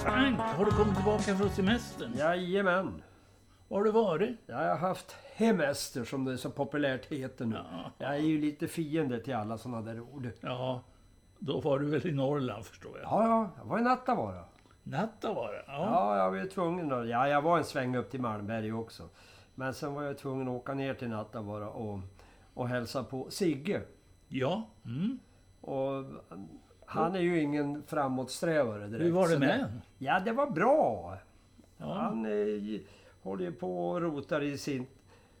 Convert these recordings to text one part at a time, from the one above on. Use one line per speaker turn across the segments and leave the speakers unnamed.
Frank, har du kommit tillbaka från semestern?
Jajamän.
Var har du varit?
Jag har haft hemester som det så populärt heter nu.
Ja.
Jag är ju lite fiende till alla sådana där ord.
Ja, då var du väl i Norrland förstår jag.
Ja, ja, jag var i Nattavaara.
Natta var det. Ja.
Ja, jag var ju tvungen att... Ja, jag var en sväng upp till Malmberg också. Men sen var jag tvungen att åka ner till Nattavaara och, och hälsa på Sigge.
Ja. Mm.
Och han är ju ingen framåtsträvare direkt.
Hur var det
Så
med
Ja, det var bra.
ja.
Han eh, håller ju på och rotar i sin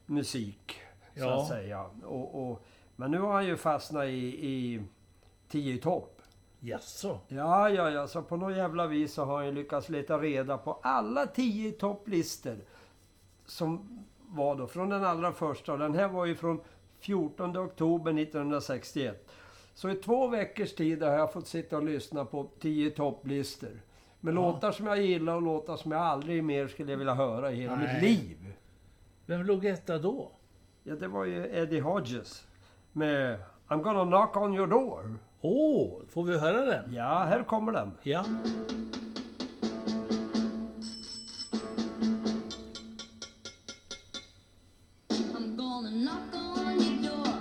musik, så
Ja.
att säga. Och, och, men nu har han ju fastnat i, i tio i topp.
Jaså?
Ja, ja, ja, så på något jävla vis så har han ju lyckats leta reda på alla tio i topplistor som var då från den allra första. Och den här var ju från 14 oktober 1961. Så i två veckors tid har jag fått sitta och lyssna på tio i topplistor. Med låtar som jag gillar och låtar som jag aldrig mer skulle vilja höra i hela
Nej.
mitt liv.
Vem låg etta då?
Ja, det var ju Eddie Hodges med I'm gonna knock on your door.
Åh, får vi höra den?
Ja, här kommer den.
Ja.
I'm gonna knock on your door,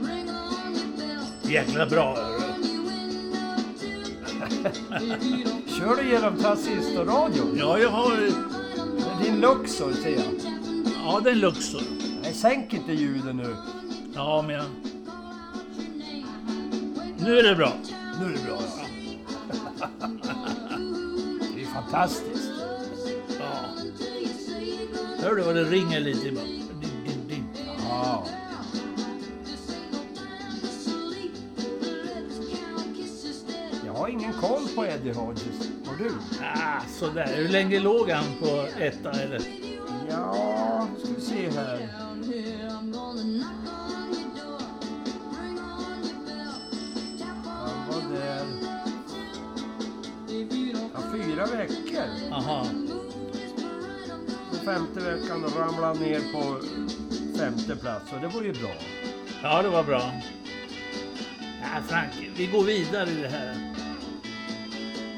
ring on your bell,
Jäkla bra.
on your window too. If you don't
Kör du genom transistorradion?
Ja, jag har...
mind, I'm gonna
Det är Din Luxor ser jag.
tap and go
Ja, den Luxor.
Nej, sänk inte ljuden nu.
Ja, men jag...
out your name. Wake
Nu är det bra.
Nu är det bra. Ja. Det är fantastiskt.
Ja.
until you say you're gonna
Hör du vad det ringer lite? ibland? Ding, ding, ding.
Ja.
This ain't no time to sleep. Let's count kisses dead.
Jag har ingen koll på Eddie Hodges. Har du?
Ah, sådär. Hur länge låg han på etta eller?
Ja, ska vi se här.
Down here, I'm gonna knock on your door, ring on your bell, tap
Han
on
var där.
if you don't
Ja, fyra veckor.
Aha.
move this parade, I'm gonna
På femte veckan ramlade han ner på femte plats och det var ju bra.
Ja, det var bra. Ja, Frank, vi går vidare i det här.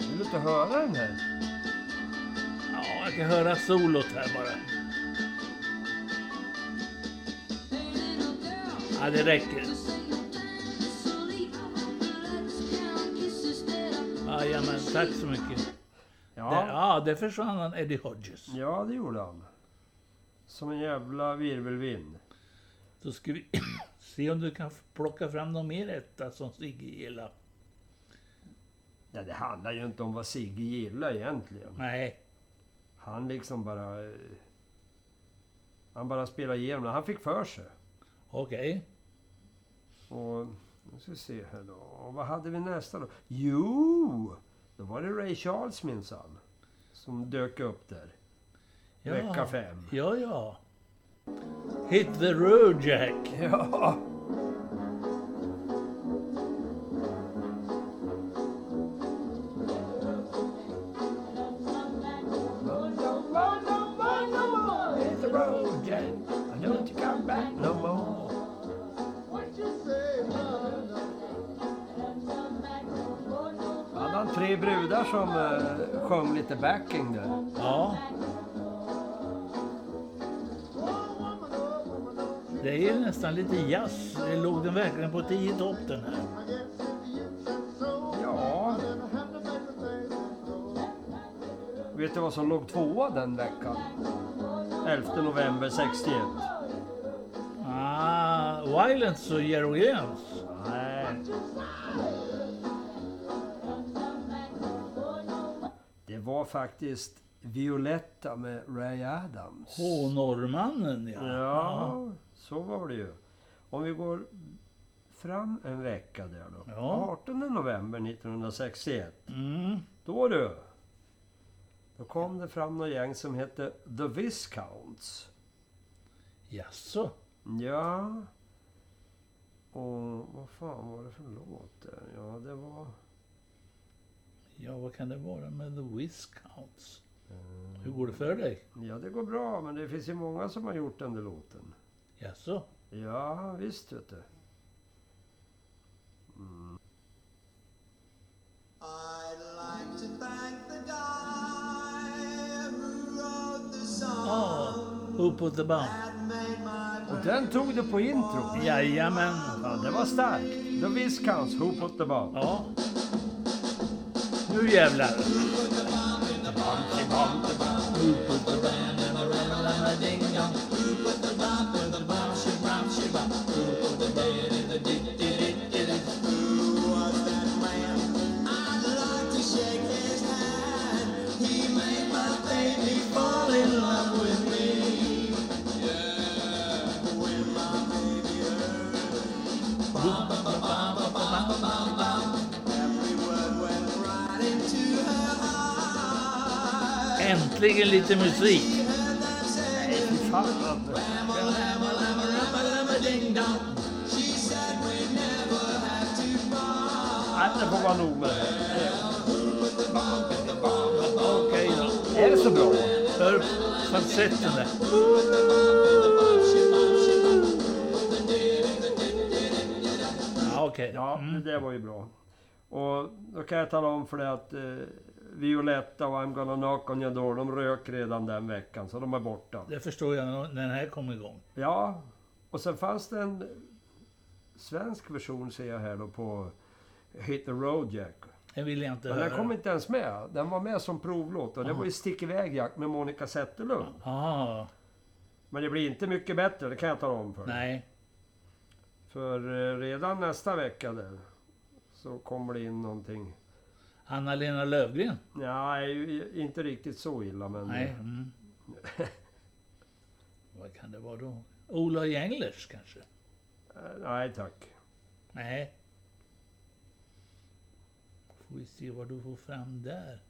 Vill du inte höra den här?
Ja, jag kan höra solot här bara.
Hey little girl,
Ja, det räcker.
this ain't no time to sleep. Let's count kisses that I
Jajamän, tack så mycket. Ja,
Ja,
ja där försvann han, Eddie Hodges.
ja det gjorde han. Som en jävla virvelvind.
Då ska vi se om du kan plocka fram någon mer etta som Sigge gillar.
Ja, det handlar ju inte om vad Sigge gillar egentligen.
Nej.
Han liksom bara... eh, Han bara spelade igenom det. Han fick för sig.
Okej.
Och... Nu ska vi se här då. Och vad hade vi nästa då? Jo! Då var det Ray Charles minsann. Som dök upp där.
Ja.
Vecka fem.
Ja, ja. Hit the road, Jack.
Ja! Hit the road, Jack. I don't you come back no more. Hade han tre brudar som eh, sjöng lite backing där?
Ja. Det är nästan lite jazz. Det låg den verkligen på tio i topp den här.
Ja. Vet du vad som låg tvåa den veckan? 11 november 61.
Ah, Violence och Jerry James.
Nej. Det var faktiskt Violetta med Ray Adams.
Åh, norrmannen ja.
Ja, så var det ju. Om vi går fram en vecka där då.
Ja.
18 november 1961.
Mm.
Då du! Då kom det fram några gäng som hette The Viscounts.
Jaså?
Ja, Och vad fan var det för låt där? Ja, det var...
Ja, vad kan det vara med The Whiskouts? Hur går det för dig?
Ja, det går bra, men det finns ju många som har gjort den där låten.
Jaså?
Ja, visst vet du.
I'd like to thank the guy who wrote the song
Ja,
Oh.
Who put the bomb?
that made my
Och den tog du på intro.
Jajamän.
Ja, det var starkt. The Viscounts, Who Put The Bomb.
Ja. Nu jävlar.
was that man. I'd like to shake his hand. He made my baby fall in love with me. Yeah, when my baby heard "Bum, bum, bum, bum, bum, bum, bum, bum," every word went right into her heart.
Äntligen lite musik.
She heard them singing.
Fan, alltså. vad-
She said we never have to part.
Nej, det får vara nog med det.
Okej då.
Är det så bra?
Hör falsetten där. Ja, okej.
Ja,
Mm.
det där var ju bra. Och då kan jag tala om för dig att eh, Violetta och I'm gonna knock on your door, de rök redan den veckan, så de är borta.
Det förstår jag när den här kom igång.
Ja, och sen fanns det en svensk version ser jag här då på Hit the Road Jack.
Den vill jag inte
Men den kom
höra.
inte ens med. Den var med som provlåt och det var ju Stick iväg Jack med Monica Zetterlund.
Ja,
Men det blir inte mycket bättre, det kan jag tala om för dig.
nej.
För eh, redan nästa vecka där så kommer det in någonting.
Anna-Lena Lövgren?
Nej, inte riktigt så illa men...
Nej. Mm. Vad kan det vara då? Ola Gänglers kanske?
Eh, Nej tack.
Nej. Får vi se vad du får fram där.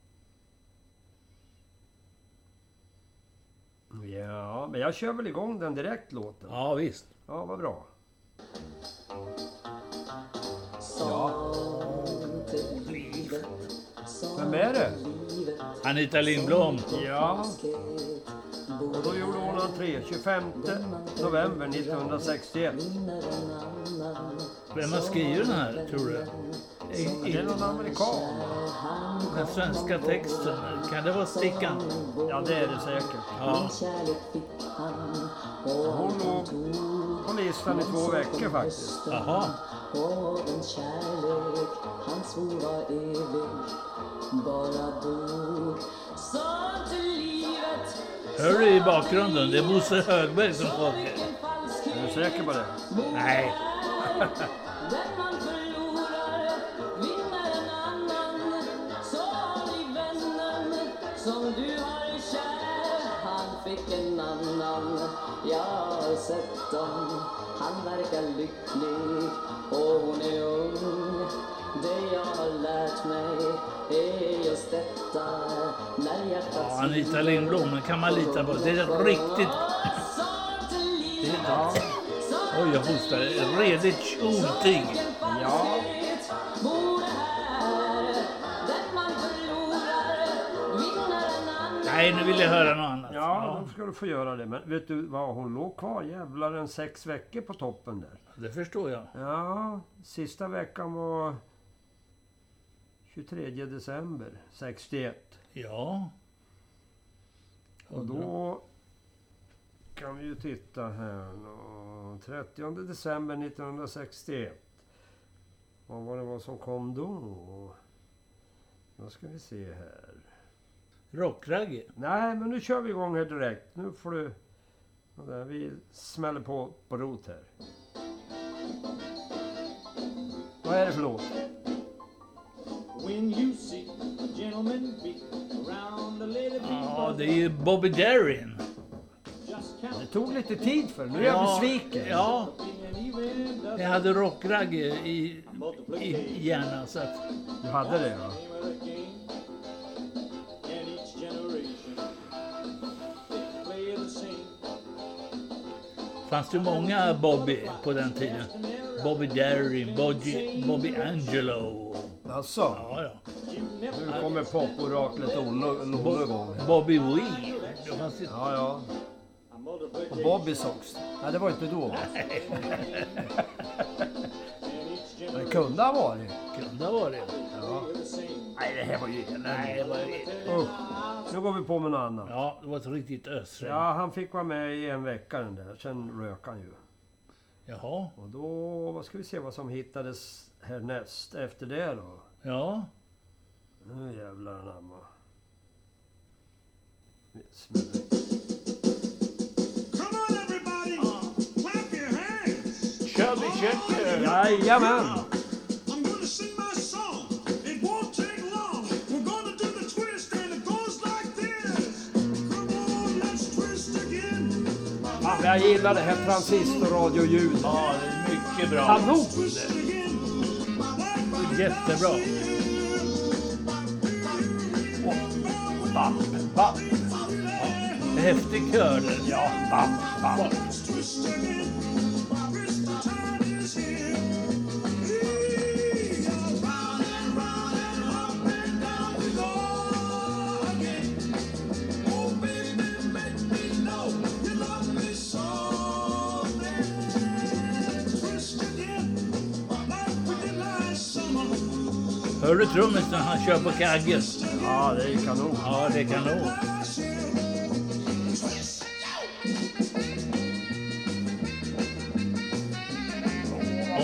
Ja, men jag kör väl igång den direkt låten.
Ja, visst.
Ja, vad bra. Vem är det?
Anita Lindblom.
Ja. Och då gjorde hon entré 25 november 1961.
Vem har skrivit den här, tror du? I,
Det är
i
någon amerikan.
den svenska texten. Kan det vara Stickan?
Ja, det är det säkert.
Ja.
Hon låg på listan i två veckor faktiskt.
Jaha.
Och en kärlek han svor var evig bara dog Sånt är livet
Hör du i bakgrunden? Det är Bosse Högberg som sjunger.
Vilken falskhet
Är du säker på det?
Nej.
Den man förlorar vinner en annan Salig vännen som du har kär Han fick en annan, jag har sett dem Han verkar lycklig och hon är ung Det jag har lärt mig är just detta När hjärtat
Ja, Anita Lindblom, den kan man lita på. Det är riktigt...
riktigt
Ja.
Oj, jag hostar. Redigt tjoltyg.
Ja.
Nej, nu vill jag höra något annat.
Ja, då ska du få göra det. Men vet du vad? Hon låg kvar jävlar en sex veckor på toppen där.
Det förstår jag.
Ja, sista veckan var 23 december 61.
Ja.
Och då kan vi ju titta här. då. 30 december 1961. Vad var det var som kom då? Då ska vi se här.
Rockragge.
Nej, men nu kör vi igång här direkt. Nu får du... Ja, där, Vi smäller på på rot här. Vad är det för låt?
When you see gentlemen beat around
Ah,
a lady
Ja, det är ju Bobby Darin.
just count
Det tog lite tid för Nu är jag besviken.
Ja,
and even does
jag hade rockragge i, i hjärnan så att...
Du hade det ja.
name of the game and each generation they play the same
Fanns det många Bobby på den tiden?
and there
Bobby Darin, Bobby, Bobby Angelo.
Alltså,
Ja, ja.
nu kommer poporaklet Olle igång.
Bobby Wee. Det fanns ju-
Ja, ja. Och Bobby Socks. Nej, det var inte då. Men det kunde ha varit.
Kunde ha varit.
Ja.
Nej, det här var ju... Nej, det var ju...
Usch. Nu går vi på med något annat.
Ja, det var ett riktigt ösregn.
Ja, han fick vara med i en vecka den där. Sen rök han ju.
Jaha.
Och då, vad ska vi se vad som hittades härnäst efter det då.
Ja.
Nu jävlar anamma. Smäller.
Come on, everybody! Clap your hands!
Shirley Checker.
Jajamän!
I'm gonna sing my song. It won't take long. We're gonna do the twist, and it goes like this. Come on, let's twist again.
Ah, Jag gillar det här transistorradioljudet.
Ja, det är mycket bra.
Kanon!
Twist again.
Jättebra.
Bapp, bapp.
Häftig kör.
Ja, bapp, bapp.
Twist again. Christmas time is here. Eee, Round and round and up and down we go again. Oh, baby, make me know you love me so. Then twist again, like we did last summer.
Hör du trummisen? Han kör på kaggen.
Ja, det är ju kanon.
Ja, det är kanon.
Last year. Twist.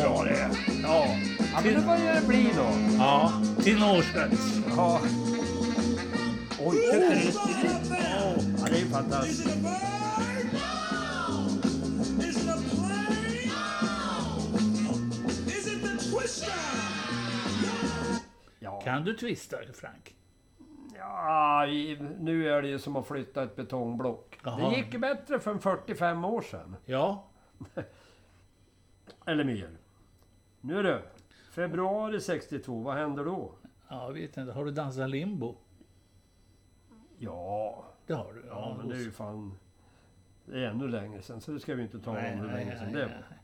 Bra det. Ja.
Ja, men det börjar det bli då.
Ja. Tenorsvets.
Ja. Oj,
It's all up there.
ja, det är ju fantastiskt.
Is it a bird? No. Is it a plane? No. Is it the twister?
Ja.
Kan du twista, Frank?
Ja, i- nu är det ju som att flytta ett betongblock.
Jaha.
Det gick ju bättre för en 45 år sedan.
Ja.
Eller mer. Nu du, februari 62, vad händer då?
Ja, jag vet inte. Har du dansat limbo?
Ja,
Det har du.
ja men det är ju fan... Det är ännu längre sedan, så det ska vi inte tala om hur länge sedan det var.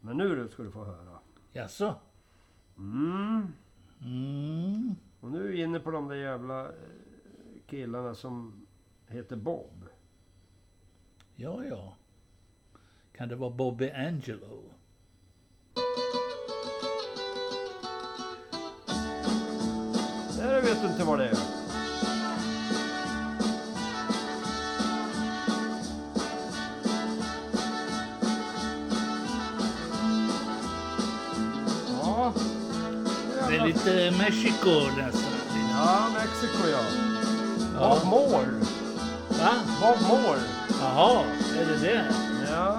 Men nu du, ska du få höra.
Jaså?
Mm.
Mm.
Och nu är vi inne på de där jävla eh, killarna som heter Bob.
Ja, ja. Kan det vara Bobby Angelo?
Där vet du inte vad det är. Ja,
Det är lite Mexiko nästan.
ja Mexiko ja. Bob
Ja.
Moore.
Va?
Bob Moore.
Jaha, är det det?
Ja.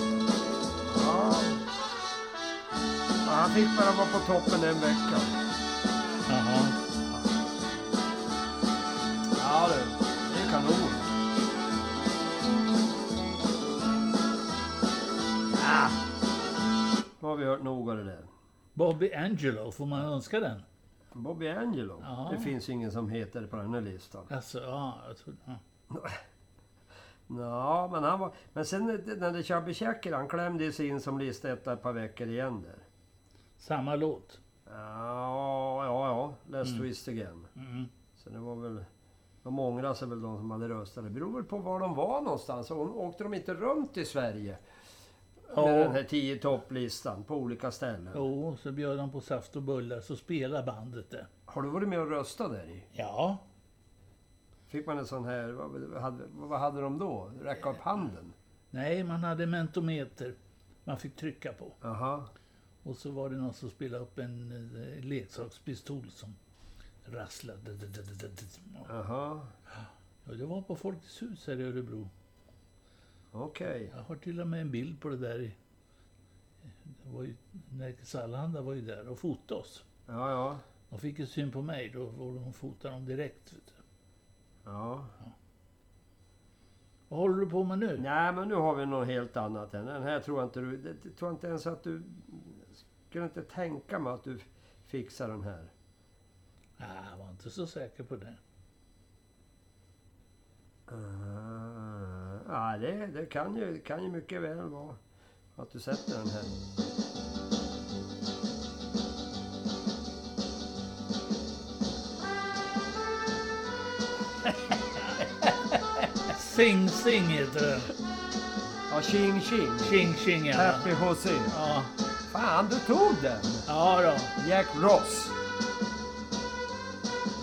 Ja. Ja, Han fick bara vara på toppen en vecka.
Jaha.
Ja du, det är kanon. Ah. Nu har vi hört nog av det där.
Bobby Angelo, får man önska den?
Bobby Angelo.
Ja.
Det finns ingen som heter det på den här listan.
Alltså, ja, jag tror, ja.
Ja, men han var... Men sen när det Chubby Checker, han klämde ju sig in som listetta ett par veckor igen där.
Samma låt.
Ja, ja, ja. Let's twist again.
Mm.
Så det var väl... De ångrar sig väl de som hade röstat. Det beror väl på var de var någonstans. Och Åkte de inte runt i Sverige? Med den
Ja,
här tio topplistan på olika ställen.
jo, så bjöd han på saft och bullar, så spelar bandet det.
Har du varit med och röstat där i?
Ja,
Fick man en sån här... Vad hade, vad hade de då? Räcka upp handen?
nej, man hade mentometer man fick trycka på.
Aha.
Och så var det någon som spelade upp en eh, leksakspistol som rasslade.
Aha.
Ja, det var på Folkets hus här i Örebro.
Okej.
Jag har till och med en bild på det där. i- Det var ju, Nerikes Allehanda var ju där och fotade oss.
Ja, ja.
De fick ju syn på mig, då var de fotade dem direkt. Vet du.
Ja.
Vad håller du på med nu?
Nej, men nu har vi något helt annat. än Den här tror jag inte du... det- Jag tror inte ens att du... Skulle inte tänka mig att du fixar den här.
Ah, jag var inte så säker på det.
Ah, ja, det, det kan, ju, kan ju mycket väl vara att du sätter den här.
Sing Sing heter den.
Ja, tjing tjing.
Tjing Tjing ja.
Happy Jose.
Ja,
Fan, du tog den!
ja då.
Jack Ross.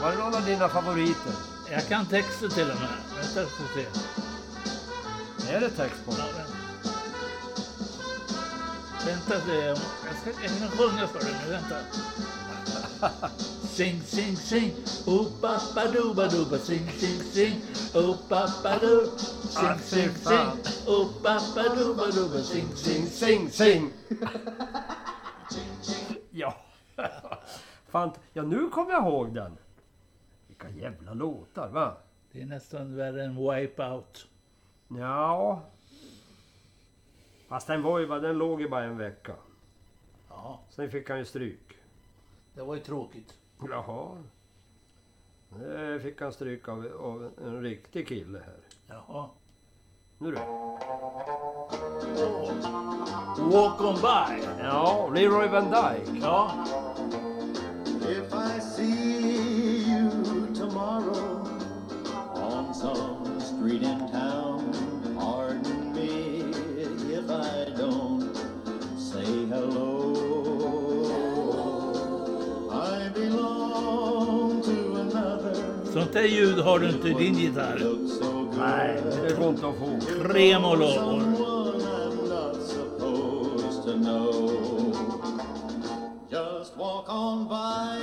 Var det någon av dina favoriter?
Jag kan texten till och med. Vänta ska vi se.
Är det text på
Ja,
den?
vänta. Vänta se. Jag, ska, jag kan sjunga för dig nu. Vänta. Sing, sing, sing. Oh, pappa duba duba Sing, sing, sing. Oh, pappa du.
Ah,
Sing,
fy
sing,
fan.
sing. Oh, pappa duba duba Sing, sing, sing.
Sing, sing, sing! ja. Fan, ja nu kommer jag ihåg den. Vilka jävla låtar, va?
Det är nästan värre än Wipeout.
Ja. Fast den var ju, bara- den låg ju bara en vecka.
Ja,
Sen fick han ju stryk.
det var ju tråkigt.
Jaha. Det fick han stryk av, av en riktig kille här.
Jaha.
Nu du.
Walk on by.
Ja, Leroy Van Dyke.
Ja,
If I see you tomorrow on some street in town, pardon me if I don't say hello. I belong to another.
sånt där ljud har du inte i din gitarr.
Look so good.
Nej, det går inte att få.
Krem och lovor.
Someone I'm not supposed to know. Just walk on by,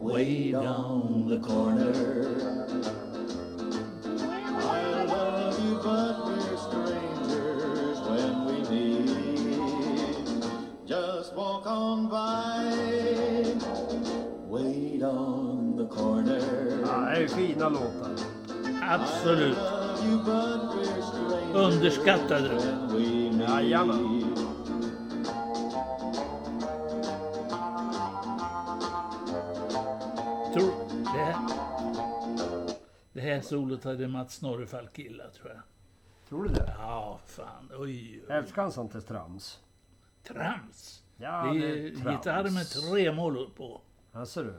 way down the corner. I love you, but we're strangers when we meet. Just walk on by, wait on the corner.
Ja, det är ju fina låtar.
Absolut. Underskattade.
Jajamän.
Tror det här. Det här solot hade Mats Snorrefalk gillat tror jag.
Tror du det?
Ja, fan. Oj, oj.
Älskar han sånt där trams?
Trams.
Ja,
det är
trams.
gitarr med tremolor på.
Ja, ser du?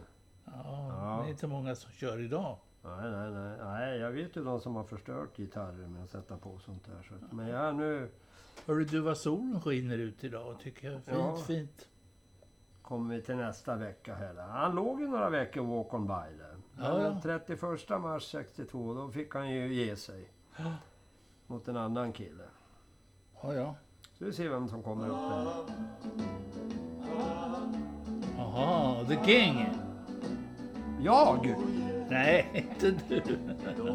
Ja,
Ja.
det är inte många som kör idag.
Nej, nej, nej, nej. Jag vet ju de som har förstört gitarrer med att sätta på sånt där. Så. att- Men jag är nu
Hörru du vad solen skiner ut idag tycker jag. Fint,
Ja.
fint.
kommer vi till nästa vecka här. Han låg ju några veckor walk on by där. Men
Ja, ja.
den 31 mars 62, då fick han ju ge sig.
Ja.
Mot en annan kille.
Ja, ja.
Så vi ser vem som kommer upp där.
Jaha, The King.
Jag!
Nej, inte du.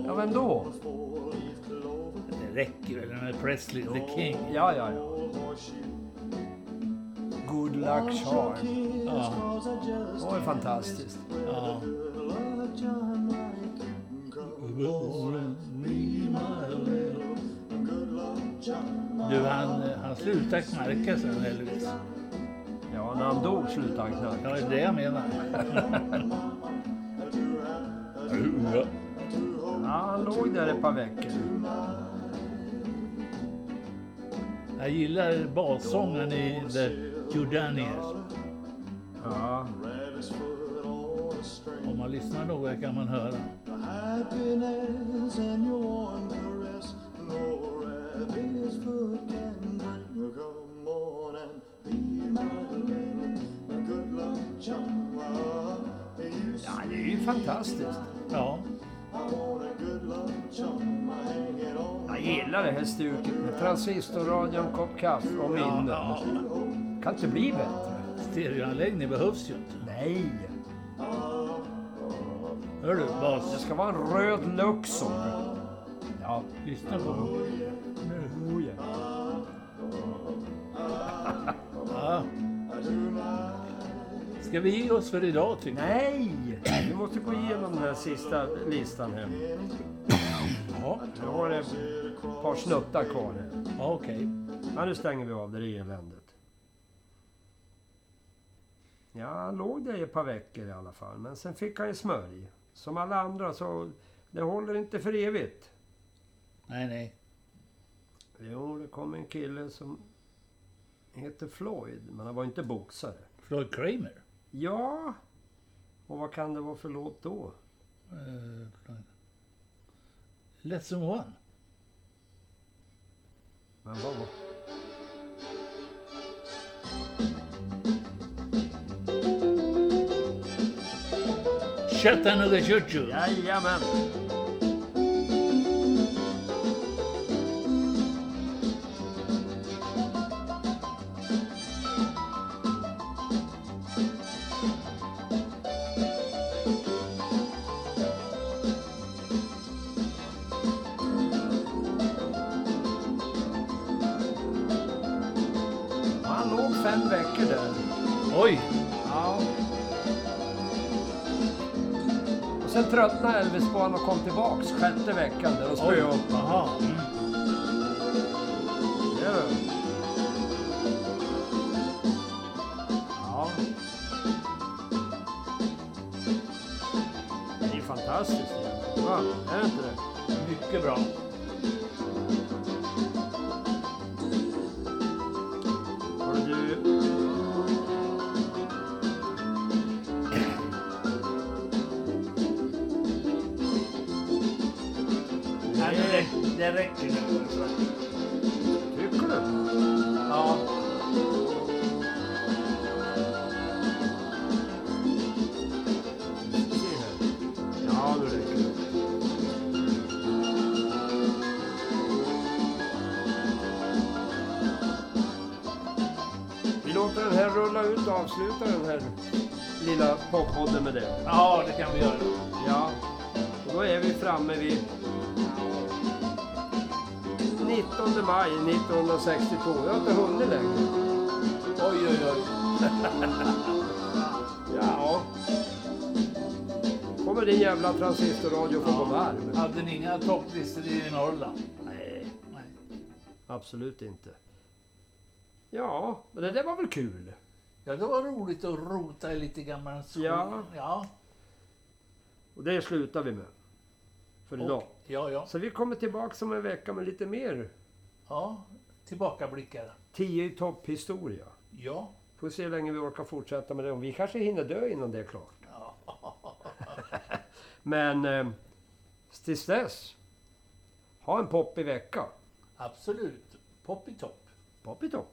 Ja, vem då?
Det räcker väl med Presley, The King.
Ja, ja, ja. Good luck charm.
Ja,
Det var ju fantastiskt.
ja. Du, han, han slutade knarka sen Elvis.
Ja, när han dog slutade han knarka.
Ja, det är det jag menar.
Ja, han låg där ett par veckor.
Jag gillar bassången i The Jordaniers.
Ja,
Om man lyssnar noga kan man höra.
Happiness and your warm caress, no rabbit's foot can bring. Come on and be my little good luck charm. You
ja det är ju fantastiskt.
Ja,
want a good luck charm, hang it on.
Jag gillar det här stuket med transistorradio, en kopp kaffe och minnen.
ja.
Kan inte bli bättre.
stereoanläggning behövs ju inte.
Nej,
Hör du,
det
bas.
ska vara en röd Luxor. Ja,
Lyssna på mig.
oh ja.
Ja. Ah. Ska vi ge oss för idag tycker jag?
Nej, vi måste gå igenom den här sista listan här.
Ja,
Jag har ett par snuttar kvar här.
ja Ah, okej.
Ja, nu stänger vi av det där eländet. Ja, han låg där i ett par veckor i alla fall. Men sen fick han ju smörj. Som alla andra så Det håller inte för evigt.
Nej, nej.
Jo, det kom en kille som heter Floyd, men han var inte boxare.
Floyd Kramer.
Ja, och vad kan det vara för låt då?
Eh, Floyd. Let's Go One.
Men vad var...
Shut another choo-choo.
Jajamän! Och Han låg fem veckor där.
Oj!
Ja. Och sen tröttnade Elvis på honom och kom tillbaks sjätte veckan där och
Oj!
spöade upp honom.
Jaha. Mm.
Det är det. Ja. Det är ju fantastiskt egentligen, va? Är det inte det?
Mycket bra.
Har du...
Nej, det räcker- Det räcker nu.
Tycker du?
Ja.
Se här. Ja, nu räcker det. Vi låter den här rulla ut och avsluta den här lilla poppodden med det.
ja, det kan vi göra.
Ja, och då är vi framme vid 19 maj 1962. Jag har inte hunnit längre.
Oj, oj, oj.
Ja. kommer din jävla transistorradio få gå varm.
Hade ni inga topplistor i Norrland?
Nej.
Nej.
Absolut inte. Ja, men det där var väl kul?
Ja, det var roligt att rota i lite gammal skog.
Ja.
Ja.
Och det slutar vi med. För idag.
Och, ja, ja.
Så vi kommer tillbaka om en vecka med lite mer
Ja. Tillbakablickar.
10 i topp-historia.
Ja.
Får se hur länge vi orkar fortsätta med det. Om Vi kanske hinner dö innan det är klart. Men eh, tills dess, ha en poppig vecka.
Absolut. Pop i topp.
Poppitopp!